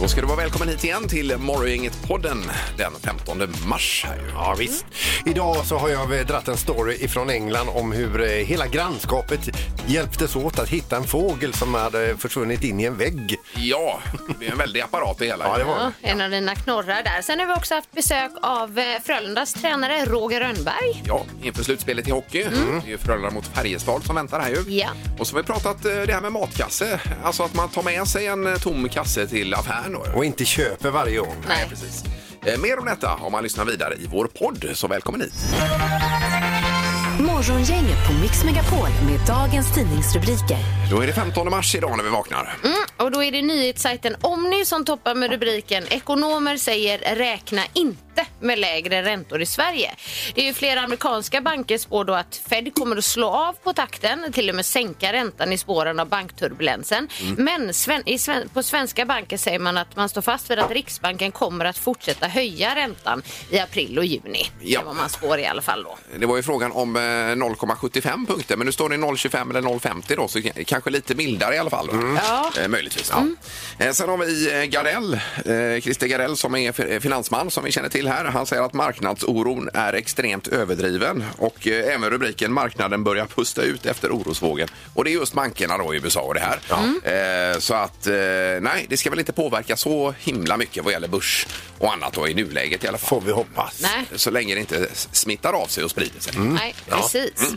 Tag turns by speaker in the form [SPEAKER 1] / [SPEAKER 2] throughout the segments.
[SPEAKER 1] Då ska du vara välkommen hit igen till Morgongänget-podden den 15 mars. Här. ju.
[SPEAKER 2] Ja, visst. Idag så har jag eh, dratt en story ifrån England om hur eh, hela grannskapet hjälptes åt att hitta en fågel som hade försvunnit in i en vägg.
[SPEAKER 1] Ja, det är en väldig apparat det hela.
[SPEAKER 2] Ja, det var
[SPEAKER 3] Ja, en av dina knorrar där. Sen har vi också haft besök av eh, Frölundas tränare Roger Rönnberg.
[SPEAKER 1] Ja, inför slutspelet i hockey. Det är ju Frölunda mot Färjestad som väntar här ju.
[SPEAKER 3] Ja.
[SPEAKER 1] Och så har vi pratat eh, det här med matkasse. Alltså att man tar med sig en eh, tom kasse till affären. Då.
[SPEAKER 2] Och inte köper varje år.
[SPEAKER 1] Nej, precis. Eh, Mer om detta om man lyssnar vidare i vår podd, så välkommen hit.
[SPEAKER 4] Morgongänget på Mix Megapol med dagens tidningsrubriker.
[SPEAKER 1] Då är det 15 mars idag när vi vaknar.
[SPEAKER 3] Mm, och då är det nyhetssajten Omni som toppar med rubriken Ekonomer säger räkna inte med lägre räntor i Sverige. Det är ju flera amerikanska banker spår då att Fed kommer att slå av på takten, till och med sänka räntan i spåren av bankturbulensen. Men sven i sven på svenska banker säger man att man står fast vid att Riksbanken kommer att fortsätta höja räntan i april och juni. Det
[SPEAKER 1] Ja.
[SPEAKER 3] är vad man spår i alla fall då.
[SPEAKER 1] Det var ju frågan om eh, 0,75 punkter, men nu står det 0,25 eller 0,50 då, så k- kanske lite mildare i alla fall. va?
[SPEAKER 2] Mm.
[SPEAKER 3] Ja.
[SPEAKER 1] Eh, möjligtvis. Ja. Eh, sen har vi eh, Gardell, eh, Christer Gardell som är fi- eh, finansman som vi känner till här. Han säger att marknadsoron är extremt överdriven och eh, även rubriken marknaden börjar pusta ut efter orosvågen. Och det är just bankerna då i USA och det här.
[SPEAKER 2] Mm.
[SPEAKER 1] Eh, så att eh, nej, det ska väl inte påverka så himla mycket vad gäller börs och annat då i nuläget i alla fall.
[SPEAKER 2] Får vi hoppas.
[SPEAKER 3] Nej. Mm.
[SPEAKER 1] Så länge det inte s- smittar av sig och sprider sig. Mm.
[SPEAKER 3] Nej, precis.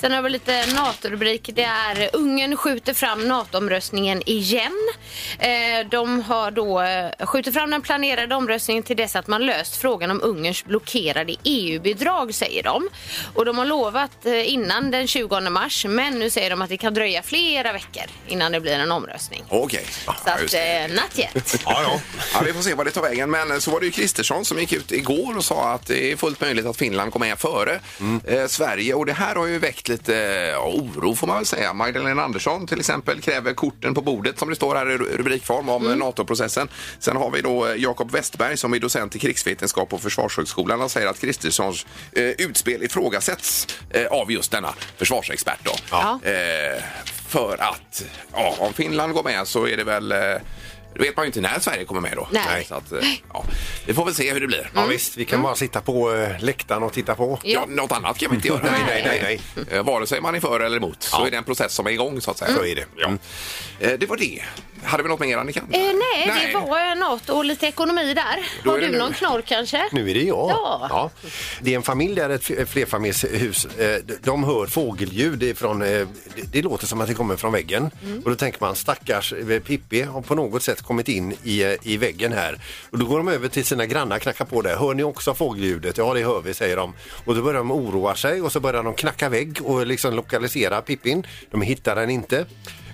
[SPEAKER 3] Sen har vi lite NATO-rubrik. Det är Ungern skjuter fram NATO-omröstningen igen. Eh, De har då eh, skjuter fram den planerade omröstningen till dess att man löst frågan om Ungerns blockerade EU-bidrag, säger de. Och de har lovat eh, innan den 20 mars, men nu säger de att det kan dröja flera veckor innan det blir en omröstning.
[SPEAKER 1] Okej.
[SPEAKER 3] Så
[SPEAKER 1] Ja,
[SPEAKER 3] att,
[SPEAKER 1] just det.
[SPEAKER 3] eh, not yet.
[SPEAKER 2] Ja, ja.
[SPEAKER 1] Ja, vi får se vad det tar vägen. Men eh, så var det ju Kristersson som gick ut igår och sa att det är fullt möjligt att Finland kommer med före
[SPEAKER 3] Mm.
[SPEAKER 1] eh, Sverige. Och det här har ju väckt lite eh, oro får man väl säga. Magdalena Andersson till exempel kräver korten på bordet som det står här i ru- rubrikform om
[SPEAKER 3] Mm.
[SPEAKER 1] eh, NATO-processen. Sen har vi då eh, Jakob Westberg som är docent i krigsvetenskap på Försvarshögskolan. Han säger att Kristerssons eh, utspel ifrågasätts eh, av just denna försvarsexpert. Då.
[SPEAKER 3] Ja.
[SPEAKER 1] Eh, för att ja, om Finland går med så är det väl eh, då vet man ju inte när Sverige kommer med då.
[SPEAKER 3] Nej.
[SPEAKER 1] Så att, eh, ja. Vi får väl se hur det blir.
[SPEAKER 2] Ja, visst, vi kan bara sitta på eh, läktaren och titta på.
[SPEAKER 1] Ja, något annat kan vi inte göra.
[SPEAKER 2] Nej, nej, nej,
[SPEAKER 1] Eh, Vare sig man är för eller emot så
[SPEAKER 2] Ja.
[SPEAKER 1] är det en process som är igång så att säga.
[SPEAKER 2] Så är det.
[SPEAKER 1] Ja. Eh, Det var det. Hade vi något mer Annika?
[SPEAKER 3] Eh, nej, det var eh, NATO och lite ekonomi där.
[SPEAKER 1] Då
[SPEAKER 3] har
[SPEAKER 1] är det
[SPEAKER 3] du
[SPEAKER 1] nu.
[SPEAKER 3] någon knorr kanske?
[SPEAKER 2] Nu är det jag.
[SPEAKER 3] Ja.
[SPEAKER 2] Det är en familj där, ett f- flerfamiljshus. Eh, d- De hör fågelljud ifrån, eh, det- det låter som att det kommer från väggen. Och då tänker man stackars eh, Pippi har på något sätt kommit in i, eh, i väggen här. Och då går de över till sina grannar och knackar på det. Hör ni också fågelljudet? Ja det hör vi säger de. Och då börjar de oroa sig och så börjar de knacka vägg och liksom lokalisera Pippin. De hittar den inte.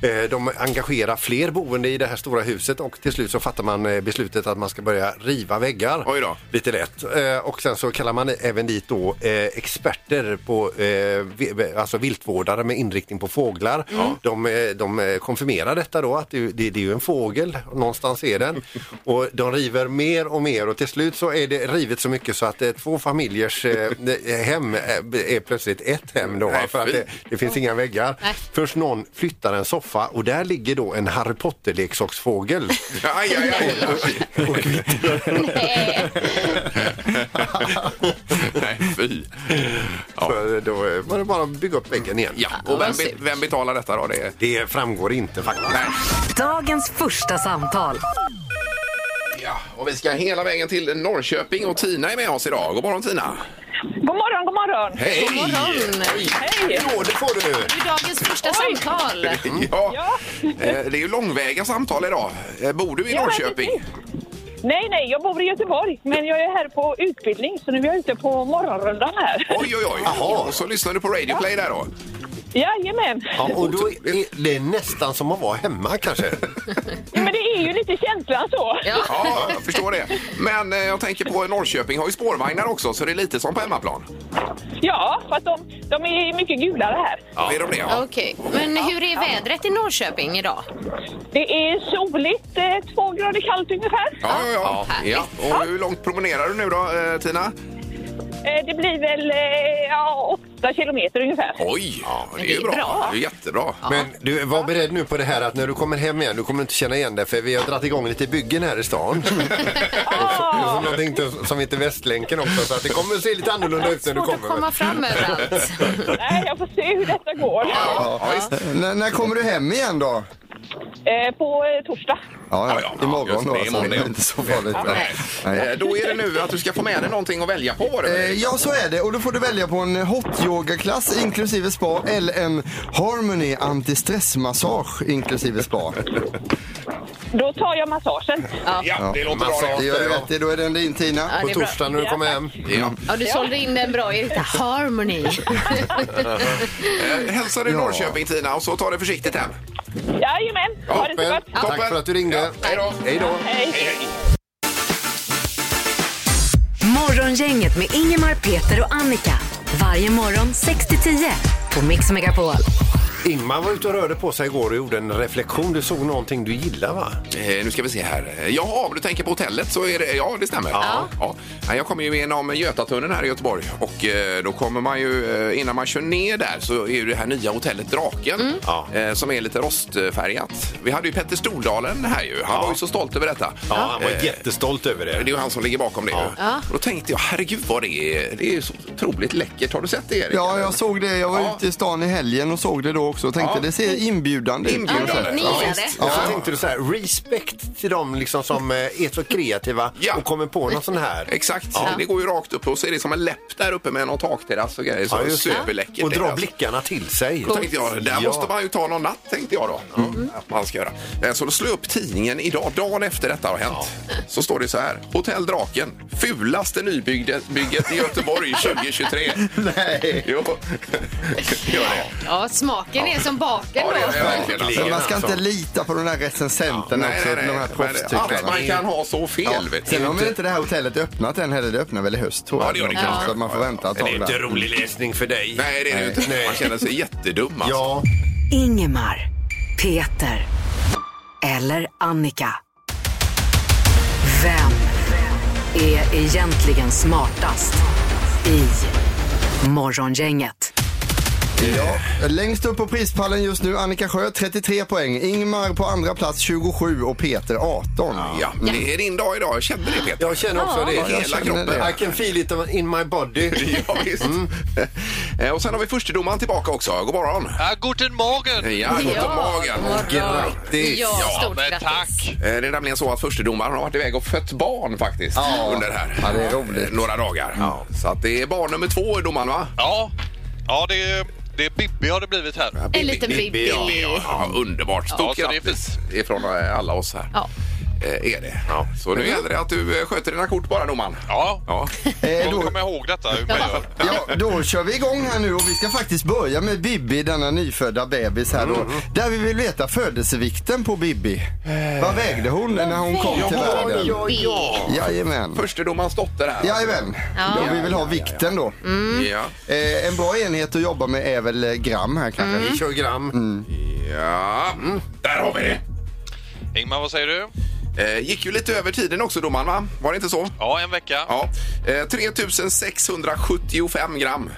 [SPEAKER 2] Eh, De engagerar fler boende i det här stora huset och till slut så fattar man eh, beslutet att man ska börja riva väggar.
[SPEAKER 1] Oj då.
[SPEAKER 2] Lite lätt. Eh, och sen så kallar man även dit då eh, experter på eh, vi- alltså viltvårdare med inriktning på fåglar. De, eh, de eh, konfirmerar detta då att det, det, det är ju en fågel, någonstans är den. Och de river mer och mer och till slut så är det rivet så mycket så att eh, två familjers eh, hem eh, är plötsligt ett hem då.
[SPEAKER 1] Nej,
[SPEAKER 2] för att
[SPEAKER 1] fy.
[SPEAKER 2] det, det finns inga väggar.
[SPEAKER 3] Nej.
[SPEAKER 2] Först någon flyttar en soffa och där ligger då en Harry Potter-leksaksfågel.
[SPEAKER 1] Aj, aj, aj.
[SPEAKER 3] Nej.
[SPEAKER 1] Nej, fy.
[SPEAKER 2] Så Då eh, var det bara att bygga upp väggen igen.
[SPEAKER 1] Ja, och vem, be- vem betalar detta då? Det är...
[SPEAKER 2] Det framgår inte faktiskt.
[SPEAKER 1] Nej.
[SPEAKER 4] Dagens första samtal.
[SPEAKER 1] Ja, och vi ska hela vägen till Norrköping och Tina är med oss idag. God morgon Tina!
[SPEAKER 5] God morgon, god morgon.
[SPEAKER 1] Hej!
[SPEAKER 3] God morgon.
[SPEAKER 1] Oj.
[SPEAKER 5] Hej.
[SPEAKER 2] Ja, det får du!
[SPEAKER 3] Det är dagens första samtal.
[SPEAKER 1] Ja.
[SPEAKER 5] Ja.
[SPEAKER 1] Eh, Det är ju långväga samtal idag. Eh, Bor du i
[SPEAKER 5] Ja,
[SPEAKER 1] Norrköping?
[SPEAKER 5] Nej, nej, jag bor i Göteborg, men jag är här på utbildning, så nu är jag ute på morgonrundan här.
[SPEAKER 1] Oj, oj, oj. Och så lyssnar du på Radio Play där då?
[SPEAKER 5] Jajamän.
[SPEAKER 2] Ja, och då
[SPEAKER 1] Otroligt.
[SPEAKER 2] är det nästan som att vara hemma kanske.
[SPEAKER 5] Ja, men det är ju lite känslan så.
[SPEAKER 3] Ja.
[SPEAKER 1] Ja, jag förstår det. Men eh, jag tänker på Norrköping har ju spårvagnar också så det är lite som på hemmaplan.
[SPEAKER 5] Ja, fast de, de är mycket gulare här.
[SPEAKER 1] Ja. Är de det? Ja.
[SPEAKER 3] Okej, men hur är vädret i Norrköping idag?
[SPEAKER 5] Det är soligt, eh, två grader kallt ungefär.
[SPEAKER 1] Ja, ja, ja. ja.
[SPEAKER 3] Härligt.
[SPEAKER 1] Och hur långt promenerar du nu då, eh, Tina?
[SPEAKER 5] Eh, Det blir väl eh, ja, åtta kilometer ungefär.
[SPEAKER 1] Oj, ja, det är ju
[SPEAKER 3] det är
[SPEAKER 1] bra.
[SPEAKER 3] bra.
[SPEAKER 1] Det är jättebra.
[SPEAKER 2] Men du, var beredd nu på det här att när du kommer hem igen, du kommer inte känna igen dig för vi har dragit igång lite byggen här i stan.
[SPEAKER 5] Ah.
[SPEAKER 2] Som någonting inte- som heter Västlänken också, så att det kommer att se lite annorlunda ut när du
[SPEAKER 3] Svårt att
[SPEAKER 2] kommer.
[SPEAKER 3] komma fram överallt.
[SPEAKER 5] Nej, jag får se hur detta går.
[SPEAKER 1] Ja, ja, visst.
[SPEAKER 6] N- Eh, när kommer du hem igen då?
[SPEAKER 5] Eh, På eh,
[SPEAKER 6] Ja,
[SPEAKER 5] torsdag.
[SPEAKER 1] Ja,
[SPEAKER 6] ja,
[SPEAKER 1] ja, ja,
[SPEAKER 6] imorgon
[SPEAKER 1] just
[SPEAKER 6] då.
[SPEAKER 1] det,
[SPEAKER 6] Alltså,
[SPEAKER 1] imorgon,
[SPEAKER 6] det
[SPEAKER 1] ja.
[SPEAKER 6] är inte så farligt.
[SPEAKER 3] nej.
[SPEAKER 6] Nej.
[SPEAKER 1] Eh, Då är det nu att du ska få med dig någonting att välja på. Var det
[SPEAKER 6] Eh,
[SPEAKER 1] väl?
[SPEAKER 6] Ja, så är det. Och då får du välja på en hot yoga-klass inklusive spa eller en harmony antistressmassage inklusive spa.
[SPEAKER 5] Då tar jag massagen.
[SPEAKER 1] Ja, det låter bra.
[SPEAKER 2] Massa-
[SPEAKER 1] det.
[SPEAKER 6] Det gör du rätt i. Då är den din Tina.
[SPEAKER 3] Ja,
[SPEAKER 2] På
[SPEAKER 3] det är bra.
[SPEAKER 2] torsdag när du kommer hem.
[SPEAKER 1] Ja.
[SPEAKER 3] Ja, du sålde in den bra, Erika. Harmony.
[SPEAKER 1] Eh, Hälsa dig
[SPEAKER 6] Ja.
[SPEAKER 1] Norrköping, Tina, och så ta det försiktigt hem.
[SPEAKER 5] Jajamän, ha det så
[SPEAKER 2] Toppen.
[SPEAKER 5] gott.
[SPEAKER 2] Tack för att du ringde.
[SPEAKER 1] Hej då.
[SPEAKER 2] Hej då.
[SPEAKER 5] Hej.
[SPEAKER 4] Morgongänget med Ingemar, Peter och Annika. Varje morgon 6 till 10 på Mix Megapol.
[SPEAKER 2] Ingmar var ute och rörde på sig igår och gjorde en reflektion. Du såg någonting du gillar va?
[SPEAKER 1] Eh, Nu ska vi se här. Eh, Ja, om du tänker på hotellet så är det, ja det stämmer. Ja. Ja, Jag kommer ju genom Götatunneln här i Göteborg och eh, då kommer man ju, eh, innan man kör ner där så är ju det här nya hotellet Draken
[SPEAKER 5] Mm.
[SPEAKER 2] Ja.
[SPEAKER 1] eh, som är lite rostfärgat. Vi hade ju Petter Stordalen här ju, han var ju så stolt över detta.
[SPEAKER 2] Ja, han var
[SPEAKER 1] Eh,
[SPEAKER 2] jättestolt över
[SPEAKER 1] Det är
[SPEAKER 2] det.
[SPEAKER 1] ju han som ligger bakom det. ju.
[SPEAKER 3] Ja.
[SPEAKER 1] Då tänkte jag, herregud vad det är. Det är ju så otroligt läckert. Har du sett det Erik?
[SPEAKER 6] Ja, jag såg det. Jag var
[SPEAKER 1] Ja.
[SPEAKER 6] ute i stan i helgen och såg det då också och tänkte
[SPEAKER 1] Ja.
[SPEAKER 6] det ser inbjudande ut.
[SPEAKER 1] Inbjudande.
[SPEAKER 6] kan jag säga.
[SPEAKER 3] Ni
[SPEAKER 1] Ja,
[SPEAKER 3] gillar
[SPEAKER 1] visst.
[SPEAKER 3] det.
[SPEAKER 2] Ja. Så tänkte du så här, respekt till dem liksom som eh, är så kreativa
[SPEAKER 1] Ja.
[SPEAKER 2] och kommer på någon sån här.
[SPEAKER 1] Exakt, det går ju rakt upp och så är det som en läpp där uppe med någon takterrass och grejer. Så
[SPEAKER 2] Ja, just det.
[SPEAKER 1] superläckert.
[SPEAKER 2] Och
[SPEAKER 1] det är
[SPEAKER 2] dra
[SPEAKER 1] alltså.
[SPEAKER 2] blickarna till sig.
[SPEAKER 1] Då tänkte jag, där
[SPEAKER 2] Ja.
[SPEAKER 1] måste man ju ta någon natt tänkte jag då. Mm. Att man ska göra. Eh, Så då slår jag upp tidningen idag, dagen efter detta har hänt. Så står det så här, Hotell Draken, fulaste nybygget bygget i Göteborg 2023.
[SPEAKER 6] Nej.
[SPEAKER 1] Jo, gör det.
[SPEAKER 3] Ja, smaken är som baken
[SPEAKER 1] Ja, det är det
[SPEAKER 3] då.
[SPEAKER 1] verkligen.
[SPEAKER 6] Men
[SPEAKER 1] Alltså.
[SPEAKER 6] man ska inte lita på de där recensenterna
[SPEAKER 1] Nej,
[SPEAKER 6] också,
[SPEAKER 1] nej, nej.
[SPEAKER 6] de här
[SPEAKER 1] Men Allt
[SPEAKER 6] proffstycklarna.
[SPEAKER 1] man kan ha så fel. vet du.
[SPEAKER 6] Sen har väl inte det här hotellet öppnat än heller. Det öppnar väl i höst tror jag.
[SPEAKER 1] Ja, det gör det kanske.
[SPEAKER 6] Så att man får vänta ett
[SPEAKER 2] Det är
[SPEAKER 6] tag
[SPEAKER 2] inte
[SPEAKER 6] där.
[SPEAKER 2] rolig läsning för dig.
[SPEAKER 1] Nej, det är det ju inte.
[SPEAKER 2] Nej.
[SPEAKER 1] Man känner sig jättedum alltså.
[SPEAKER 2] Ja,
[SPEAKER 4] Ingemar, Peter eller Annika. Vem är egentligen smartast i Morgongänget?
[SPEAKER 6] Ja. Längst upp på prispallen just nu Annika Sjö 33 poäng, Ingmar på andra plats 27 och Peter 18.
[SPEAKER 1] Ja, men det är din dag idag. Jag känner det Peter.
[SPEAKER 2] jag känner också det.
[SPEAKER 1] jag känner
[SPEAKER 6] det.
[SPEAKER 2] I can feel it in my body.
[SPEAKER 1] Ja, visst.
[SPEAKER 6] Mm.
[SPEAKER 1] Eh, Och sen har vi förstedomaren tillbaka också. God morgon.
[SPEAKER 7] Ja, guten Morgen!
[SPEAKER 1] Ja, gott om
[SPEAKER 3] god
[SPEAKER 1] magen.
[SPEAKER 3] morgon.
[SPEAKER 2] Grattis.
[SPEAKER 3] Ja, stort
[SPEAKER 7] men
[SPEAKER 3] grattis.
[SPEAKER 7] tack!
[SPEAKER 1] Eh, Det är nämligen så att förstedomaren har varit iväg och fött barn faktiskt under det här.
[SPEAKER 6] Ja, det är roligt.
[SPEAKER 1] Eh, Några dagar. Så att det är barn nummer två i domaren va?
[SPEAKER 7] Ja, ja det, är, det är Bibbi har det blivit här.
[SPEAKER 3] En liten Bibi.
[SPEAKER 1] Ja, ja, underbart. Stort
[SPEAKER 7] Ja, så det är
[SPEAKER 1] grattis ifrån eh, alla oss här.
[SPEAKER 3] Ja.
[SPEAKER 1] Eh, Är det. Så nu gäller det att du eh, sköter dina kort bara domaren.
[SPEAKER 7] Ja,
[SPEAKER 1] Ja.
[SPEAKER 6] Eh,
[SPEAKER 7] då
[SPEAKER 6] då,
[SPEAKER 7] kommer jag ihåg detta hur man gör.
[SPEAKER 6] ja, då kör vi igång här nu och vi ska faktiskt börja med Bibi, denna nyfödda bebis här då. Där vi vill veta födelsevikten på Bibi. Vad vägde hon när hon kom till världen? Jajamän.
[SPEAKER 1] Förstedomarens dotter här.
[SPEAKER 6] Jajamän, ja. Mm. vi vill ha vikten då.
[SPEAKER 1] Ja.
[SPEAKER 6] Eh, en bra enhet att jobba med är väl eh, gram här kanske.
[SPEAKER 2] Vi kör gram.
[SPEAKER 1] Ja, mm. där har vi det.
[SPEAKER 7] Ingmar, vad säger du?
[SPEAKER 1] Eh, gick ju lite över tiden också domaren va? Var det inte så?
[SPEAKER 7] Ja, en vecka.
[SPEAKER 1] Ja. Eh, 3675 gram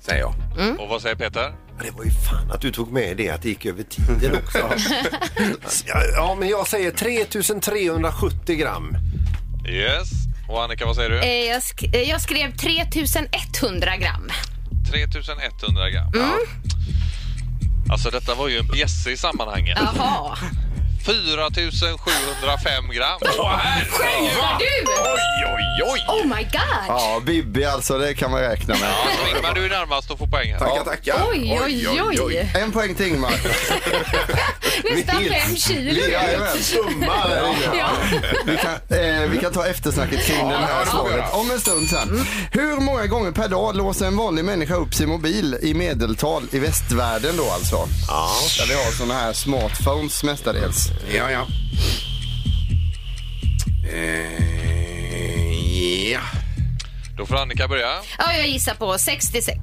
[SPEAKER 1] säger jag.
[SPEAKER 7] Mm. Och vad säger Peter?
[SPEAKER 2] Det var ju fan att du tog med det att det gick över tiden också. ja, ja, men jag säger 3370 gram.
[SPEAKER 7] Yes. Och Annika, vad säger du?
[SPEAKER 3] Eh, Jag, sk- eh, jag skrev 3100 gram.
[SPEAKER 7] 3100 gram.
[SPEAKER 3] Mm.
[SPEAKER 7] Ja. Alltså detta var ju en bjässe i sammanhanget.
[SPEAKER 3] Jaha.
[SPEAKER 7] 4705 gram.
[SPEAKER 1] Åh, herregud!
[SPEAKER 3] Du!
[SPEAKER 1] Oj, oj, oj!
[SPEAKER 3] Oh my god!
[SPEAKER 6] Ja, Bibi alltså, det kan man räkna med.
[SPEAKER 7] Ja, Ingmar, du är närmast att få poäng här.
[SPEAKER 1] Tackar, tackar.
[SPEAKER 3] Oj, oj, oj.
[SPEAKER 6] En poäng till Ingmar.
[SPEAKER 3] Nästan
[SPEAKER 2] Vilt.
[SPEAKER 3] fem kilo.
[SPEAKER 6] Jajamän.
[SPEAKER 2] Summa!
[SPEAKER 3] Ja.
[SPEAKER 6] Vi kan, eh, vi kan ta eftersnacket kring det här svaret om en stund sen.
[SPEAKER 1] Mm.
[SPEAKER 6] Hur många gånger per dag låser en vanlig människa upp sin mobil i medeltal i västvärlden då alltså? Ja. Där vi har såna här smartphones mestadels.
[SPEAKER 1] Ja, ja. Eh, ja.
[SPEAKER 7] Då får Annika börja.
[SPEAKER 3] ja, jag gissar på 66.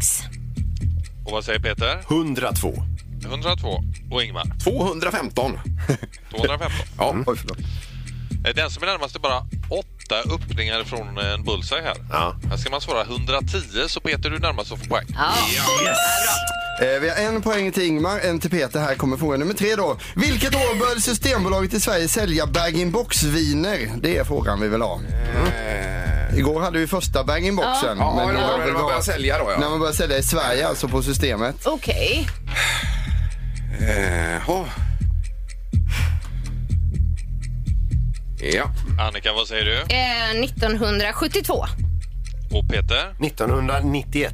[SPEAKER 7] Och vad säger Peter?
[SPEAKER 2] 102.
[SPEAKER 7] 102. Och Ingmar?
[SPEAKER 1] 215.
[SPEAKER 7] 215.
[SPEAKER 1] Ja.
[SPEAKER 6] Oj, förlåt.
[SPEAKER 7] Eh, Den som är närmast är bara åtta öppningar från eh, en bullseye här.
[SPEAKER 2] Ja.
[SPEAKER 7] Här ska man svara 110 så Peter du är närmast att få poäng.
[SPEAKER 3] Ja.
[SPEAKER 6] Eh, vi har en poäng till Ingmar, en till Peter. Här kommer fråga nummer tre då. Vilket år började Systembolaget i Sverige sälja bag-in-box-viner? Det är frågan vi vill ha. Igår hade vi första bag-in-boxen.
[SPEAKER 1] Eh. Ja,
[SPEAKER 6] men
[SPEAKER 1] det
[SPEAKER 6] jag
[SPEAKER 1] var
[SPEAKER 6] vill
[SPEAKER 1] när man
[SPEAKER 6] ha-
[SPEAKER 1] började sälja då, ja.
[SPEAKER 6] När man började sälja i Sverige, alltså på systemet.
[SPEAKER 3] Okej.
[SPEAKER 1] Eh, oh. Ja.
[SPEAKER 7] Annika, vad säger du?
[SPEAKER 3] Eh, 1972.
[SPEAKER 7] Och Peter?
[SPEAKER 2] 1991.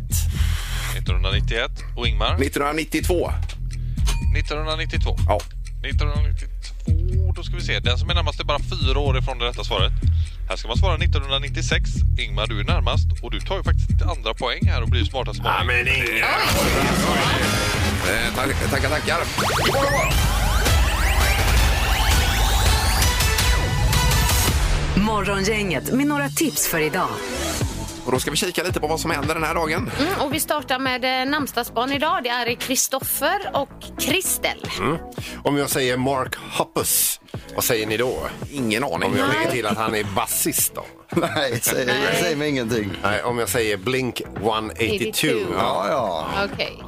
[SPEAKER 7] 1991. Och Ingmar?
[SPEAKER 1] 1992.
[SPEAKER 7] 1992.
[SPEAKER 1] Ja.
[SPEAKER 7] 1992, då ska vi se. Den som är närmast är bara fyra år ifrån det rätta svaret. Här ska man svara 1996. Ingmar, du är närmast och du tar ju faktiskt andra poäng här och blir smartast på poäng.
[SPEAKER 2] men Ingmar!
[SPEAKER 1] Eh, tack- tackar, tackar. God morgon, god morgon.
[SPEAKER 4] Morgongänget med några tips för idag.
[SPEAKER 1] Och då ska vi kika lite på vad som händer den här dagen.
[SPEAKER 3] Mm, och vi startar med eh, namnsdagsbarn idag. Det är Kristoffer och Kristel.
[SPEAKER 2] Om jag säger Mark Hoppus, vad säger ni då?
[SPEAKER 1] Ingen aning.
[SPEAKER 2] Om jag lägger till att han är basist då?
[SPEAKER 6] Nej, säg,
[SPEAKER 3] Nej.
[SPEAKER 6] säg mig ingenting.
[SPEAKER 2] Nej, om jag säger Blink 182,
[SPEAKER 3] 82.
[SPEAKER 6] Ja, ja.
[SPEAKER 2] Mm.
[SPEAKER 3] Okej.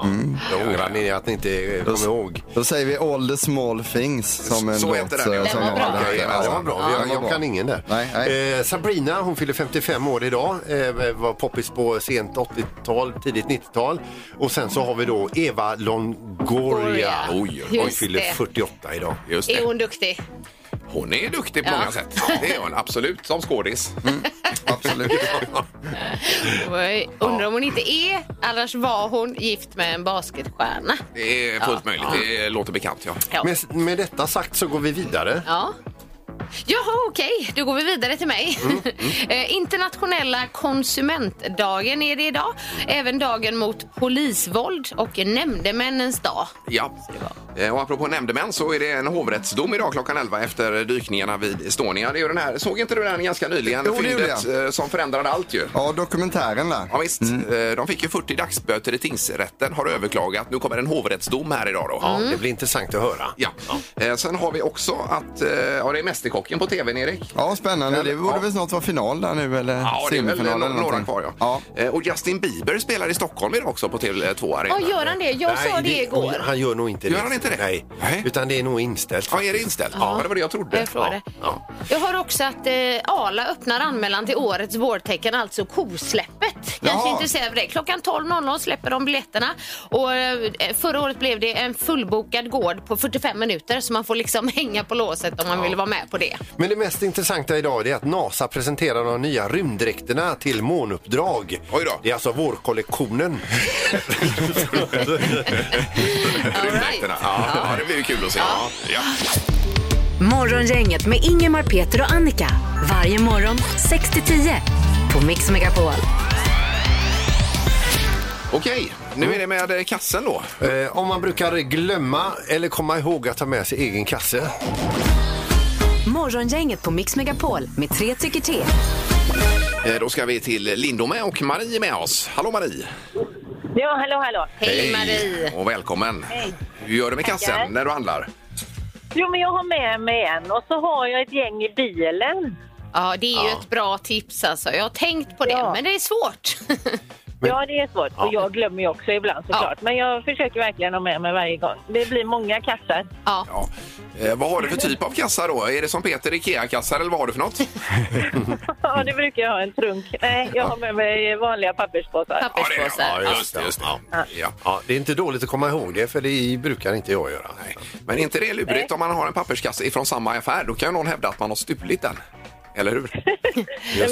[SPEAKER 2] då ångrar ni att ni inte eh, kommer ihåg.
[SPEAKER 6] Då säger vi All the small things som en
[SPEAKER 1] Så
[SPEAKER 6] låt.
[SPEAKER 1] heter den, ja.
[SPEAKER 6] eh, som
[SPEAKER 3] Den var
[SPEAKER 6] har
[SPEAKER 3] bra.
[SPEAKER 6] här.
[SPEAKER 2] Okej, ja, det var bra.
[SPEAKER 6] Den
[SPEAKER 2] Jag,
[SPEAKER 6] var
[SPEAKER 2] jag
[SPEAKER 6] bra.
[SPEAKER 2] kan ingen där.
[SPEAKER 6] Nej, nej.
[SPEAKER 2] Eh, Sabrina, hon fyller 55 år idag. Eh, var poppis på sent 80-tal, tidigt 90-tal. Och sen så har vi då Eva Longoria.
[SPEAKER 3] Longoria.
[SPEAKER 2] Oj, hon
[SPEAKER 3] Just
[SPEAKER 2] fyller
[SPEAKER 3] det.
[SPEAKER 2] 48 idag.
[SPEAKER 1] Just
[SPEAKER 3] Är
[SPEAKER 1] det.
[SPEAKER 3] hon duktig?
[SPEAKER 1] Hon är duktig på
[SPEAKER 3] Ja.
[SPEAKER 1] många sätt. Det är hon absolut, som skådis.
[SPEAKER 6] Absolut.
[SPEAKER 3] Oj, Undrar om hon inte är, annars var hon gift med en basketstjärna.
[SPEAKER 1] Det är fullt möjligt. Det låter bekant, ja.
[SPEAKER 3] Ja.
[SPEAKER 2] Med, med detta sagt så går vi vidare.
[SPEAKER 3] Ja. Jaha, okej. Då går vi vidare till mig.
[SPEAKER 2] Mm,
[SPEAKER 3] Eh, Internationella konsumentdagen är det idag. Även dagen mot polisvåld och nämndemännens dag.
[SPEAKER 1] Ja. Eh, Och apropå nämndemän så är det en hovrättsdom idag klockan 11 efter dykningarna vid Estonia. Det är ju den här, såg inte du den ganska nyligen?
[SPEAKER 6] Jo, det gjorde
[SPEAKER 1] Fyndet, eh, som förändrade allt ju.
[SPEAKER 6] Ja, dokumentären där.
[SPEAKER 1] Ja, visst.
[SPEAKER 6] Mm.
[SPEAKER 1] Eh, De fick ju 40 dagsböter i tingsrätten, har överklagat. Nu kommer en hovrättsdom här idag då.
[SPEAKER 3] Mm.
[SPEAKER 2] Det blir intressant att höra.
[SPEAKER 1] Ja. Eh, Sen har vi också att, eh, ja det är Mästerkocken på tvn Erik.
[SPEAKER 6] Ja, spännande. Det borde
[SPEAKER 1] Ja.
[SPEAKER 6] väl snart vara final där nu eller
[SPEAKER 1] Ja, det är väl
[SPEAKER 6] semifinal eller
[SPEAKER 1] några, några
[SPEAKER 6] någonting.
[SPEAKER 1] kvar ja.
[SPEAKER 6] ja.
[SPEAKER 1] Eh, Och Justin Bieber spelar i Stockholm idag också på TV2 Arena.
[SPEAKER 3] Ja, gör han det? Jag sa det
[SPEAKER 2] och
[SPEAKER 3] igår.
[SPEAKER 2] Han gör nog inte det.
[SPEAKER 1] Gör han inte det?
[SPEAKER 2] Nej.
[SPEAKER 1] Nej.
[SPEAKER 2] Utan det är nog inställt.
[SPEAKER 1] Ja, är det inställt? Ja, det var det jag trodde.
[SPEAKER 3] Jag, frågade.
[SPEAKER 2] Ja.
[SPEAKER 3] jag har också att eh, Arla öppnar anmälan till årets vårtecken, alltså kosläppet. Kanske
[SPEAKER 6] Jaha.
[SPEAKER 3] intresserad av det. Klockan 12.00 släpper de biljetterna. Och, eh, förra året blev det en fullbokad gård på 45 minuter så man får liksom hänga på låset om man vill vara med på det.
[SPEAKER 2] Men det mest intressanta idag är att NASA presenterar de nya rymddräkterna till månuppdrag.
[SPEAKER 1] Oj då.
[SPEAKER 2] Det är alltså vårkollektionen.
[SPEAKER 3] All right.
[SPEAKER 1] Rymdrätterna. Ja, ja, det blir ju kul att se. Ja.
[SPEAKER 4] Morgongänget med Ingemar, Peter och Annika. Varje morgon 6 till 10 på Mix Megapol.
[SPEAKER 1] Okej, nu är det med eh, kassen då.
[SPEAKER 2] eh, om man brukar glömma eller komma ihåg att ta med sig egen kasse.
[SPEAKER 4] Morgongänget på Mix Megapol med tre tycker till.
[SPEAKER 1] Eh, Då ska vi till Lindome och Marie är med oss. Hallå Marie!
[SPEAKER 5] Ja, hallå, hallå.
[SPEAKER 3] Hej Marie!
[SPEAKER 1] Och välkommen! Hur gör du med
[SPEAKER 5] Tackar.
[SPEAKER 1] kassen när du handlar?
[SPEAKER 5] Jo, men jag har med mig en och så har jag ett gäng i bilen.
[SPEAKER 3] Ja, det är ju ett bra tips alltså. Jag har tänkt på det,
[SPEAKER 5] Ja.
[SPEAKER 3] men det är svårt.
[SPEAKER 5] Ja, det är svårt. Och jag glömmer ju också ibland såklart. Men jag försöker verkligen ha med mig varje gång. Det blir många kassar.
[SPEAKER 3] ja.
[SPEAKER 1] Ja. Eh, Vad har du för typ av kassa då? Är det som Peter Ikea-kassar eller vad har du för något?
[SPEAKER 3] Mm.
[SPEAKER 5] Ja, det brukar jag ha en trunk. Nej, jag har med mig vanliga papperspåsar.
[SPEAKER 3] Papperspåsar.
[SPEAKER 1] Ja, det- ja, just
[SPEAKER 2] Ja.
[SPEAKER 1] det. Just det. Ja.
[SPEAKER 2] Ja, det är inte dåligt att komma ihåg det, för det brukar inte jag göra.
[SPEAKER 1] Men är inte det lurigt om man har en papperskasse ifrån samma affär? Då kan ju någon hävda att man har stulit den. Eller hur?
[SPEAKER 5] Men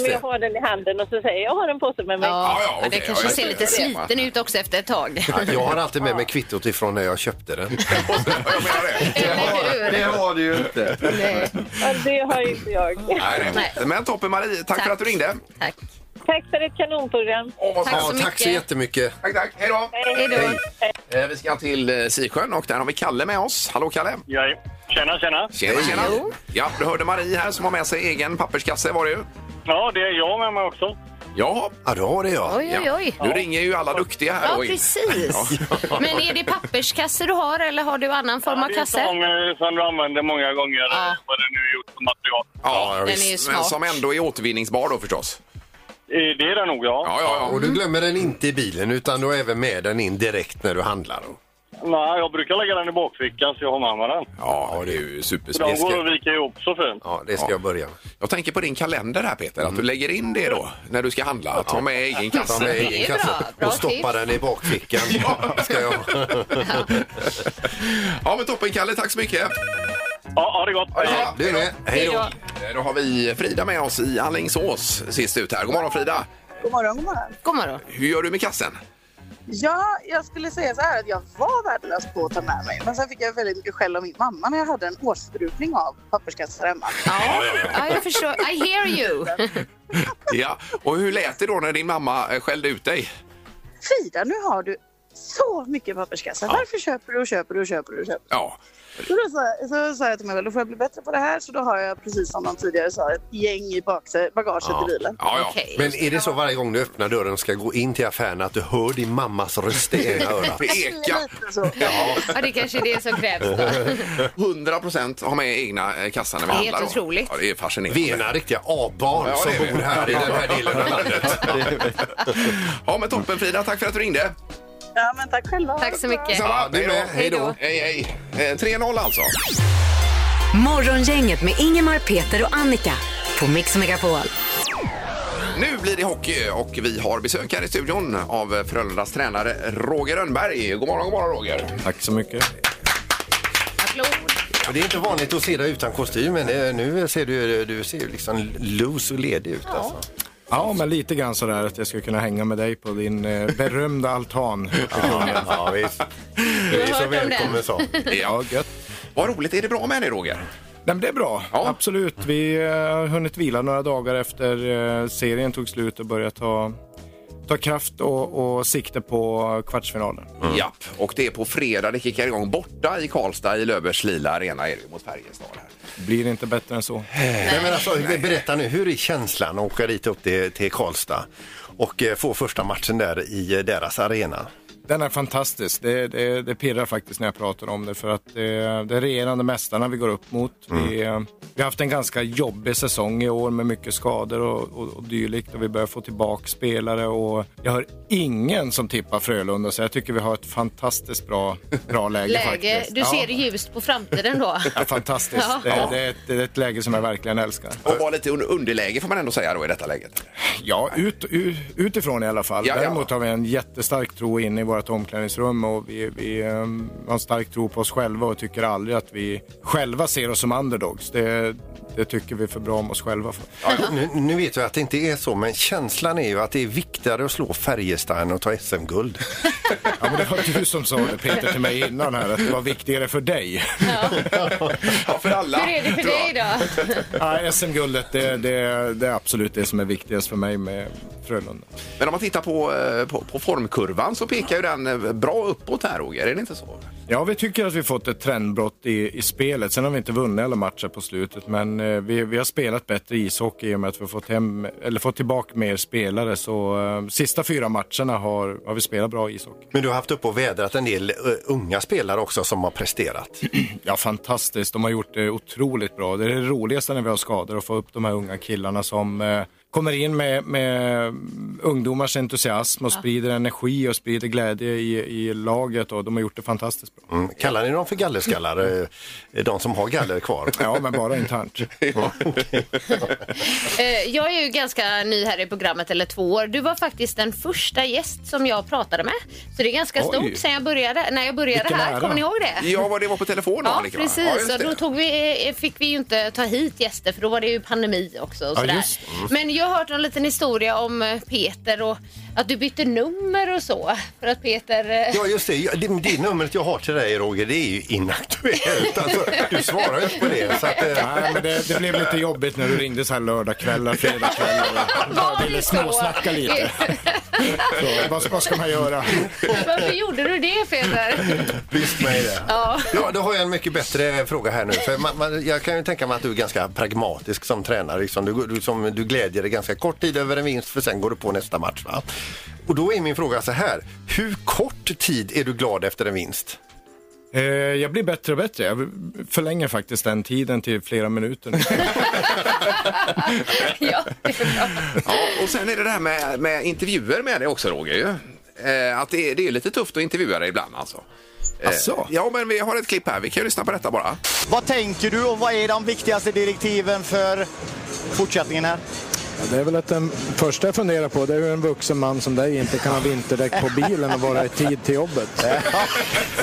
[SPEAKER 2] det.
[SPEAKER 5] jag har den i handen och så säger jag, jag har en påse med mig.
[SPEAKER 3] Ja,
[SPEAKER 1] Ja, ja, okej,
[SPEAKER 3] det kanske
[SPEAKER 1] ja,
[SPEAKER 3] ser
[SPEAKER 1] jag-
[SPEAKER 3] lite sliten ut också efter ett tag.
[SPEAKER 2] Ja, Jag har alltid med mig kvittot ifrån när jag köpte den.
[SPEAKER 1] Jag menar det.
[SPEAKER 6] Det har, det har du ju inte.
[SPEAKER 3] Nej.
[SPEAKER 5] Ja, det har ju inte jag.
[SPEAKER 1] Nej, nej.
[SPEAKER 3] Nej.
[SPEAKER 1] Men toppen Marie, tack, för att du ringde.
[SPEAKER 3] Tack.
[SPEAKER 5] Tack för ett kanonprogram.
[SPEAKER 1] Åh, vad
[SPEAKER 3] Tack
[SPEAKER 1] snällt.
[SPEAKER 3] så
[SPEAKER 2] Ja, tack så
[SPEAKER 3] mycket.
[SPEAKER 2] jättemycket.
[SPEAKER 1] tack, tack. Hej då.
[SPEAKER 3] Hej då.
[SPEAKER 1] Eh, Vi ska till eh, Sisjön och där har vi Kalle med oss. Hallå Kalle!
[SPEAKER 8] Ja, tjena, tjena.
[SPEAKER 1] Tjena, tjena! Ja, du hörde Marie här som har med sig egen papperskasse var det ju.
[SPEAKER 8] Ja, det är jag med mig också.
[SPEAKER 1] Ja,
[SPEAKER 2] Ja, du har det ja.
[SPEAKER 3] Oj, oj,
[SPEAKER 1] ja.
[SPEAKER 3] oj.
[SPEAKER 1] nu ringer ju alla duktiga här.
[SPEAKER 3] Ja,
[SPEAKER 1] och in.
[SPEAKER 3] precis. Men är det papperskasse du har eller har du annan form av
[SPEAKER 8] det är
[SPEAKER 3] kasse?
[SPEAKER 8] sån eh, som du använder många gånger,
[SPEAKER 3] Ja.
[SPEAKER 8] eh, vad det nu är gjort för material.
[SPEAKER 1] Ja,
[SPEAKER 3] Den är ju
[SPEAKER 1] visst. Men
[SPEAKER 3] smart.
[SPEAKER 1] som ändå är återvinningsbar då förstås.
[SPEAKER 8] Eh, Det är det nog, ja.
[SPEAKER 1] Ja, ja, ja.
[SPEAKER 3] Mm.
[SPEAKER 2] Och du glömmer den inte i bilen utan du har även med den in direkt när du handlar.
[SPEAKER 8] Nej, jag brukar lägga den i bakfickan så jag har med mig den.
[SPEAKER 1] Ja, det är ju
[SPEAKER 8] De
[SPEAKER 1] superspiskigt.
[SPEAKER 8] går att vika ihop så fint.
[SPEAKER 2] Ja, det ska
[SPEAKER 1] Ja.
[SPEAKER 2] jag börja med.
[SPEAKER 1] Jag tänker på din kalender här Peter, att du lägger in det då när du ska handla. Ta med egen
[SPEAKER 2] Ta med
[SPEAKER 1] kasse.
[SPEAKER 2] egen
[SPEAKER 3] är bra.
[SPEAKER 2] kaffe
[SPEAKER 3] Bra
[SPEAKER 2] och stoppa
[SPEAKER 3] tips.
[SPEAKER 2] den i bakfickan. Ska jag.
[SPEAKER 1] Ja, men toppen Kalle, tack så mycket!
[SPEAKER 8] Ja, ha det gott.
[SPEAKER 1] Ja,
[SPEAKER 2] Du är med. Hej då.
[SPEAKER 1] Eh, Då har vi Frida med oss i Alingsås sist ut här. God morgon Frida!
[SPEAKER 9] God morgon, god morgon.
[SPEAKER 3] God morgon.
[SPEAKER 1] Hur gör du med kassen?
[SPEAKER 9] Ja, jag skulle säga så här att jag var värdelös på att ta med mig. Men sen fick jag väldigt mycket skäll av min mamma när jag hade en årsförbrukning av papperskassar hemma.
[SPEAKER 3] Ja, ja, jag förstår. I hear you.
[SPEAKER 1] Ja, och hur lät det då när din mamma eh, skällde ut dig?
[SPEAKER 9] Frida, nu har du så mycket papperskassar. Varför köper du och köper du och köper du och köper?
[SPEAKER 1] Ja,
[SPEAKER 9] Så då sa, så sa jag till mig själv, då får jag bli bättre på det här. Så då har jag, precis som de tidigare sa, ett gäng i bakse, bagaget i bilen.
[SPEAKER 1] ja, ja.
[SPEAKER 3] Okej.
[SPEAKER 2] Men är det så varje gång du öppnar dörren och ska gå in till affären att du hör din mammas röst i ena örat?
[SPEAKER 1] Det ekar.
[SPEAKER 3] Alltså,
[SPEAKER 9] Lite så.
[SPEAKER 3] Ja, det kanske är det som krävs. Då.
[SPEAKER 1] 100 procent har med egna eh, kassar när vi
[SPEAKER 3] Det är
[SPEAKER 1] handlar.
[SPEAKER 3] helt
[SPEAKER 1] då.
[SPEAKER 3] otroligt.
[SPEAKER 1] Ja, det är fascinerande.
[SPEAKER 2] Vi är några riktiga A-barn
[SPEAKER 1] Ja,
[SPEAKER 2] som
[SPEAKER 1] det är vi.
[SPEAKER 2] bor här i den här delen av landet.
[SPEAKER 1] Ja, men toppen Frida, tack för att du ringde.
[SPEAKER 9] Ja, men tack själva.
[SPEAKER 3] Tack så mycket.
[SPEAKER 2] Ja, du
[SPEAKER 1] Hej då.
[SPEAKER 2] med. Hej då.
[SPEAKER 1] Hej, hej. Eh, 3-0 alltså.
[SPEAKER 4] Morgongänget med Ingemar, Peter och Annika på Mix Megapol.
[SPEAKER 1] Nu blir det hockey och vi har besök här i studion av Frölundas tränare Roger Rönnberg. God morgon, god morgon Roger.
[SPEAKER 10] Tack så mycket.
[SPEAKER 3] Applåd.
[SPEAKER 2] Och Det är inte vanligt att se dig utan kostym, men eh, nu ser du, du ser ju liksom loose och ledig ut. Alltså.
[SPEAKER 10] Ja, men lite grann sådär att jag skulle kunna hänga med dig på din eh, berömda altan.
[SPEAKER 2] Ja, ja, visst. Du är
[SPEAKER 3] hört
[SPEAKER 2] så
[SPEAKER 3] om den.
[SPEAKER 2] välkommen så.
[SPEAKER 10] Ja, gött.
[SPEAKER 1] Vad roligt. Är det bra med dig Roger?
[SPEAKER 10] Nej, men det är bra,
[SPEAKER 1] Ja.
[SPEAKER 10] absolut. Vi eh, har hunnit vila några dagar efter eh, serien tog slut och börjat ta, ta kraft och, och sikte på kvartsfinalen.
[SPEAKER 1] Japp. Och det är på fredag det kickar igång borta i Karlstad i Löfbergs lila arena är det ju mot Färjestad. Här.
[SPEAKER 10] Blir inte bättre än så.
[SPEAKER 2] Nej, men alltså, berätta nu, hur är känslan att åka dit upp till, till Karlstad och eh, få första matchen där i eh, deras arena?
[SPEAKER 10] Den är fantastisk. Det, det, det pirrar faktiskt när jag pratar om det för att det, det är regerande mästarna vi går upp mot. Vi, eh, vi har haft en ganska jobbig säsong i år med mycket skador och, och, och dylikt och vi börjar få tillbaka spelare och jag hör ingen som tippar Frölunda så jag tycker vi har ett fantastiskt bra, bra läge,
[SPEAKER 3] Läge.
[SPEAKER 10] faktiskt.
[SPEAKER 3] Du
[SPEAKER 10] Ja,
[SPEAKER 3] ser ljust på framtiden då.
[SPEAKER 10] det är fantastiskt.
[SPEAKER 3] Ja.
[SPEAKER 10] Det, det, är ett, det är ett läge som jag verkligen älskar.
[SPEAKER 1] Och vara lite un- underläge får man ändå säga då i detta läget.
[SPEAKER 10] Ja, ut, u- utifrån i alla fall.
[SPEAKER 1] Ja, ja.
[SPEAKER 10] Däremot har vi en jättestark tro in i vårt omklädningsrum och vi, vi eh, har en stark tro på oss själva och tycker aldrig att vi själva ser oss som underdogs. Det, det tycker vi är för bra om oss själva för.
[SPEAKER 2] Nu, nu vet jag att det inte är så, men känslan är ju att det är viktigare att slå Färjestad än att ta SM-guld.
[SPEAKER 10] Ja, men det var du som sa det Peter till mig innan här, att det var viktigare för dig.
[SPEAKER 1] Ja, för alla.
[SPEAKER 3] Hur är det för
[SPEAKER 1] tror jag.
[SPEAKER 3] dig då?
[SPEAKER 10] Ja, SM-guldet, det, det, det är absolut det som är viktigast för mig med Frölunda.
[SPEAKER 1] Men om man tittar på, eh, på, på formkurvan så pekar ju den eh, bra uppåt här Roger, är det inte så?
[SPEAKER 10] Ja, vi tycker att vi fått ett trendbrott i, i spelet. Sen har vi inte vunnit alla matcher på slutet, men eh, vi, vi har spelat bättre ishockey i och med att vi har fått, hem, eller fått tillbaka mer spelare. Så eh, sista fyra matcherna har, har vi spelat bra ishockey.
[SPEAKER 2] Men du har haft upp och vädrat en del eh, unga spelare också som har presterat.
[SPEAKER 10] Ja, fantastiskt. De har gjort det otroligt bra. Det är det roligaste när vi har skador, att få upp de här unga killarna som eh, kommer in med, med ungdomars entusiasm och sprider energi och sprider glädje i, i laget och de har gjort det fantastiskt bra.
[SPEAKER 2] Mm. Kallar ni dem för gallerskallar, eh, de som har galler kvar?
[SPEAKER 10] Ja, men bara internt.
[SPEAKER 3] Eh, Jag är ju ganska ny här i programmet, eller två år. Du var faktiskt den första gäst som jag pratade med. Så det är ganska
[SPEAKER 10] Oj.
[SPEAKER 3] stort sen jag började, när jag började
[SPEAKER 10] Vilken
[SPEAKER 3] här.
[SPEAKER 10] ära.
[SPEAKER 3] Kommer ni ihåg det?
[SPEAKER 1] Ja, vad det var på telefon
[SPEAKER 3] Ja,
[SPEAKER 1] Annika, va? Ja,
[SPEAKER 3] precis.
[SPEAKER 1] just
[SPEAKER 3] och då
[SPEAKER 1] det.
[SPEAKER 3] tog vi, eh, fick vi ju inte ta hit gäster för då var det ju pandemi också. Och
[SPEAKER 10] Ja,
[SPEAKER 3] sådär.
[SPEAKER 10] just det.
[SPEAKER 3] Men jag har hört en liten historia om eh, Peter och att du bytte nummer och så. För att Peter... eh,
[SPEAKER 2] Ja, just det. Ja, Det, det numret jag har till dig, Roger, det är ju inaktuellt. Alltså, du svarar ju inte på det. Så att, eh,
[SPEAKER 10] Nej, men det, det blev lite jobbigt när du ringde så här lördagkvällar, fredagkvällar.
[SPEAKER 3] Var
[SPEAKER 10] Jag
[SPEAKER 3] det
[SPEAKER 10] ville
[SPEAKER 3] så?
[SPEAKER 10] småsnacka lite. Så, vad, vad ska man göra?
[SPEAKER 3] Varför gjorde du det Peter?
[SPEAKER 2] Visst mig det. Ja. då har jag en mycket bättre fråga här nu. För man, man, jag kan ju tänka mig att du är ganska pragmatisk som tränare. Liksom. Du, du, som, du glädjer dig ganska kort tid över en vinst för sen går du på nästa match. Va? Och då är min fråga så här. Hur kort tid är du glad efter en vinst?
[SPEAKER 10] Eh, jag blir bättre och bättre. Jag förlänger faktiskt den tiden till flera minuter nu.
[SPEAKER 3] ja, det är bra.
[SPEAKER 1] Ja, och sen är det det här med, med intervjuer med dig också Roger ju. Eh, att det är, det är lite tufft att intervjua dig ibland alltså. Eh,
[SPEAKER 10] Asså?
[SPEAKER 1] Ja, men vi har ett klipp här. Vi kan ju lyssna på detta bara.
[SPEAKER 8] Vad tänker du och vad är de viktigaste direktiven för fortsättningen här?
[SPEAKER 10] Det är väl att den första jag funderar på det är hur en vuxen man som dig inte kan ha vinterdäck på bilen och vara i tid till jobbet.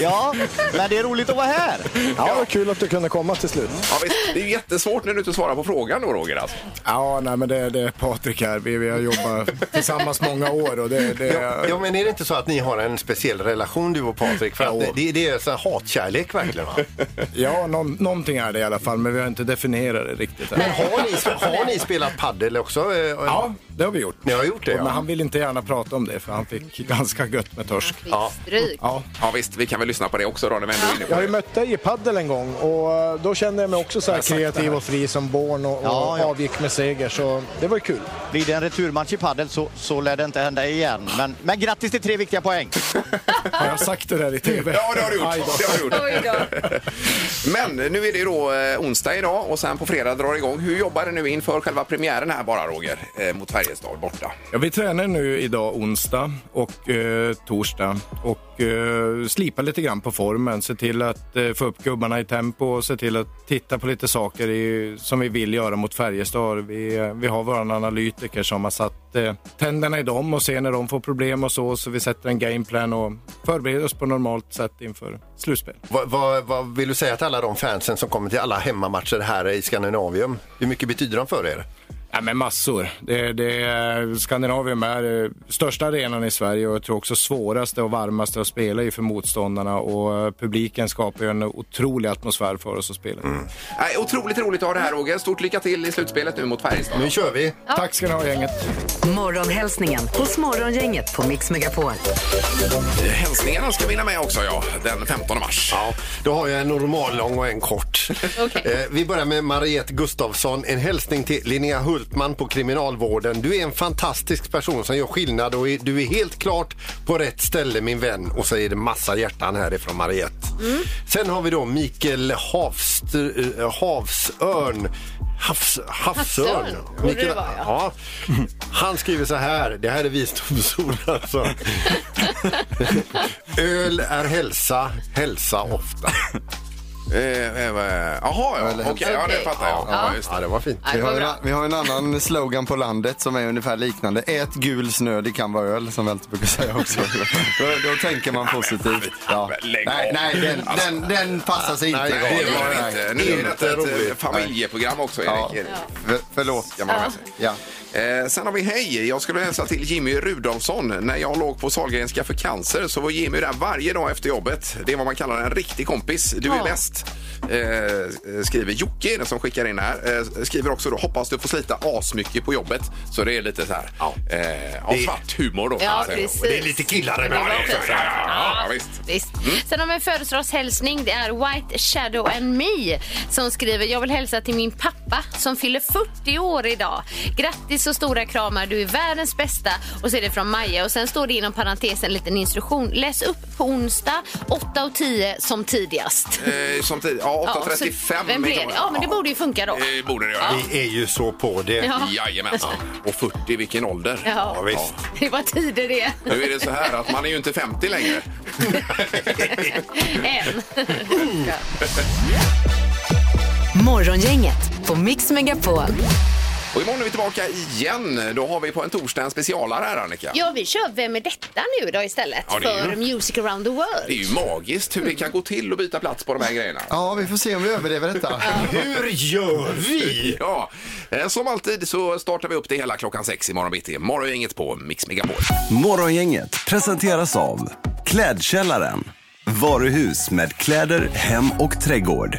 [SPEAKER 8] Ja, men det är roligt att vara här.
[SPEAKER 10] Ja, vad kul att du kunde komma till slut.
[SPEAKER 1] Ja, visst, det är ju jättesvårt när du inte svarar på frågan då Roger alltså.
[SPEAKER 10] Ja, nej men det, det är Patrik här. Vi, vi har jobbat tillsammans många år och det, det
[SPEAKER 2] Ja, ja, men är det inte så att ni har en speciell relation du och Patrik? För att det, det, det är så här hatkärlek verkligen. Va?
[SPEAKER 10] ja, någon, någonting är det i alla fall, men vi har inte definierat det riktigt än.
[SPEAKER 2] Men har ni, har ni spelat paddel också? eh,
[SPEAKER 10] Ja, det har vi gjort.
[SPEAKER 2] Ni har gjort det,
[SPEAKER 10] Och-
[SPEAKER 2] ja.
[SPEAKER 10] Men han vill inte gärna prata om det för han fick ganska gött med torsk.
[SPEAKER 3] Fick stryk.
[SPEAKER 10] Ja.
[SPEAKER 1] Ja, visst, vi kan väl lyssna på det också då när vi ändå är inne på
[SPEAKER 8] Jag har
[SPEAKER 1] det.
[SPEAKER 8] ju mött dig i paddel en gång och eh, då kände jag mig också så här kreativ och fri som barn och, och
[SPEAKER 5] Ja, ja.
[SPEAKER 8] avgick med seger så det var ju kul. Blir det en returmatch i paddel så, så lär det inte hända igen. Men, men grattis till tre viktiga poäng.
[SPEAKER 10] Har jag sagt det där i TV?
[SPEAKER 1] Ja, det har du
[SPEAKER 10] Aj
[SPEAKER 1] gjort.
[SPEAKER 10] då.
[SPEAKER 1] Det har du gjort.
[SPEAKER 3] Oj då.
[SPEAKER 1] Men nu är det ju då eh, onsdag idag och sen på fredag drar det igång. Hur jobbar du nu inför själva premiären här bara Roger? Eh, mot Färjestad borta.
[SPEAKER 10] Ja, vi tränar nu idag onsdag och eh, torsdag och eh, slipar lite grann på formen. Se till att eh, få upp gubbarna i tempo och se till att titta på lite saker i, som vi vill göra mot Färjestad. Vi, eh, vi har våran analytiker som har satt eh, tänderna i dem och ser när de får problem och så. Så vi sätter en gameplan och förbereder oss på normalt sätt inför slutspel.
[SPEAKER 2] Vad, vad, vad vill du säga till alla de fansen som kommer till alla hemmamatcher här i Skandinavium? Hur mycket betyder de för er?
[SPEAKER 10] Ja, men massor. Det, det, Skandinavium är eh, största arenan i Sverige och jag tror också svåraste och varmaste att spela i för motståndarna och eh, publiken skapar ju en otrolig atmosfär för oss att spela.
[SPEAKER 1] Nej, otroligt roligt att ha det här Roger. Stort lycka till i slutspelet nu mot Färjestad.
[SPEAKER 2] Nu kör vi!
[SPEAKER 10] Tack ska ni ha gänget.
[SPEAKER 4] Morgonhälsningen hos Morgongänget på Mix Megapol.
[SPEAKER 1] Hälsningarna ska vi hinna med också, ja. Den 15 mars.
[SPEAKER 2] Ja, då har jag en normal lång och en kort.
[SPEAKER 3] Okej.
[SPEAKER 2] Eh, vi börjar med Mariette Gustafsson. En hälsning till Linnea Hultman på Kriminalvården. Du är en fantastisk person som gör skillnad och är, du är helt klart på rätt ställe min vän. Och så är det massa hjärtan härifrån Mariette. Sen har vi då Mikael Havstr, eh, Havsörn. Havs, havsörn.
[SPEAKER 3] Havsörn, borde det vara, ja.
[SPEAKER 2] Ja. Han skriver så här, det här är visdomsord alltså. Öl är hälsa, hälsa ofta.
[SPEAKER 1] Eh, eh, eh, Jaha, ja. Okej, ja, det fattar jag. Ja, just det.
[SPEAKER 2] Ja, det var fint.
[SPEAKER 3] Ja, det
[SPEAKER 6] Vi
[SPEAKER 3] var
[SPEAKER 6] har, en,
[SPEAKER 3] bra.
[SPEAKER 6] vi har en annan slogan på landet som är ungefär liknande. Ät gul snö, det kan vara öl, som vi alltid brukar säga också. då, då tänker man positivt. Ja.
[SPEAKER 1] lägg
[SPEAKER 6] Nej,
[SPEAKER 1] av. Alltså,
[SPEAKER 6] nej den, den, den passar sig inte.
[SPEAKER 2] nej, det
[SPEAKER 1] Det
[SPEAKER 6] Nej,
[SPEAKER 1] var det
[SPEAKER 6] nej.
[SPEAKER 1] inte. Nu är detta ett eh, familjeprogram också,
[SPEAKER 6] Ja.
[SPEAKER 1] Erik.
[SPEAKER 6] För, förlåt.
[SPEAKER 1] Kan man ha med sig.
[SPEAKER 6] Ja.
[SPEAKER 1] Eh, sen har vi hej. Jag skulle hälsa till Jimmy Rudolfsson. När jag låg på Sahlgrenska för cancer så var Jimmy där varje dag efter jobbet. Det är vad man kallar en riktig kompis. Du är
[SPEAKER 3] Ja.
[SPEAKER 1] bäst. Eh, skriver Jocke den som skickar in här. Eh, skriver också då hoppas du får slita asmycket på jobbet. Så det är lite så här. Ja. Eh, ja,
[SPEAKER 2] Det-
[SPEAKER 1] svart humor då. kan
[SPEAKER 3] Ja,
[SPEAKER 1] man säga.
[SPEAKER 3] precis.
[SPEAKER 2] Det är lite killar
[SPEAKER 1] Ja,
[SPEAKER 2] emellan
[SPEAKER 1] det är
[SPEAKER 2] också.
[SPEAKER 1] också. Ja, ja, ja, visst.
[SPEAKER 3] Visst. Sen har vi en födelsedagshälsning. Det är White Shadow and Me som skriver Jag vill hälsa till min pappa som fyller 40 år idag. Grattis och stora kramar. Du är världens bästa. Och så är det från Maja. Och sen står det inom parentes en liten instruktion. Läs upp på onsdag 8 och 10 som tidigast.
[SPEAKER 1] Eh, som tid, Ja,
[SPEAKER 3] Ja, så
[SPEAKER 1] 8.35
[SPEAKER 3] Vem blev det? Ja, men det borde ju funka då.
[SPEAKER 1] Eh, borde det göra.
[SPEAKER 2] Vi är ju så på det.
[SPEAKER 3] Ja.
[SPEAKER 1] Jajamensan. Och 40, vilken ålder.
[SPEAKER 3] Ja.
[SPEAKER 2] Ja, visst.
[SPEAKER 3] Det var tider det.
[SPEAKER 1] Nu är det så här att man är ju inte 50 längre.
[SPEAKER 3] Än.
[SPEAKER 4] Morgongänget på Mix Megapol.
[SPEAKER 1] Och imorgon är vi tillbaka igen. Då har vi på en torsdag en specialare här Annika.
[SPEAKER 3] Ja, vi kör Vem är detta nu då istället
[SPEAKER 1] Ja, det är
[SPEAKER 3] för
[SPEAKER 1] ju-
[SPEAKER 3] Music around the world.
[SPEAKER 1] Det är ju magiskt hur det kan gå till att byta plats på de här grejerna.
[SPEAKER 6] Ja, vi får se om vi överlever detta.
[SPEAKER 2] Hur gör vi?
[SPEAKER 1] Ja, eh, som alltid så startar vi upp det hela klockan sex imorgon bitti. Morgongänget på Mix Megapol.
[SPEAKER 11] Morgongänget presenteras av Klädkällaren. Varuhus med kläder, hem och trädgård.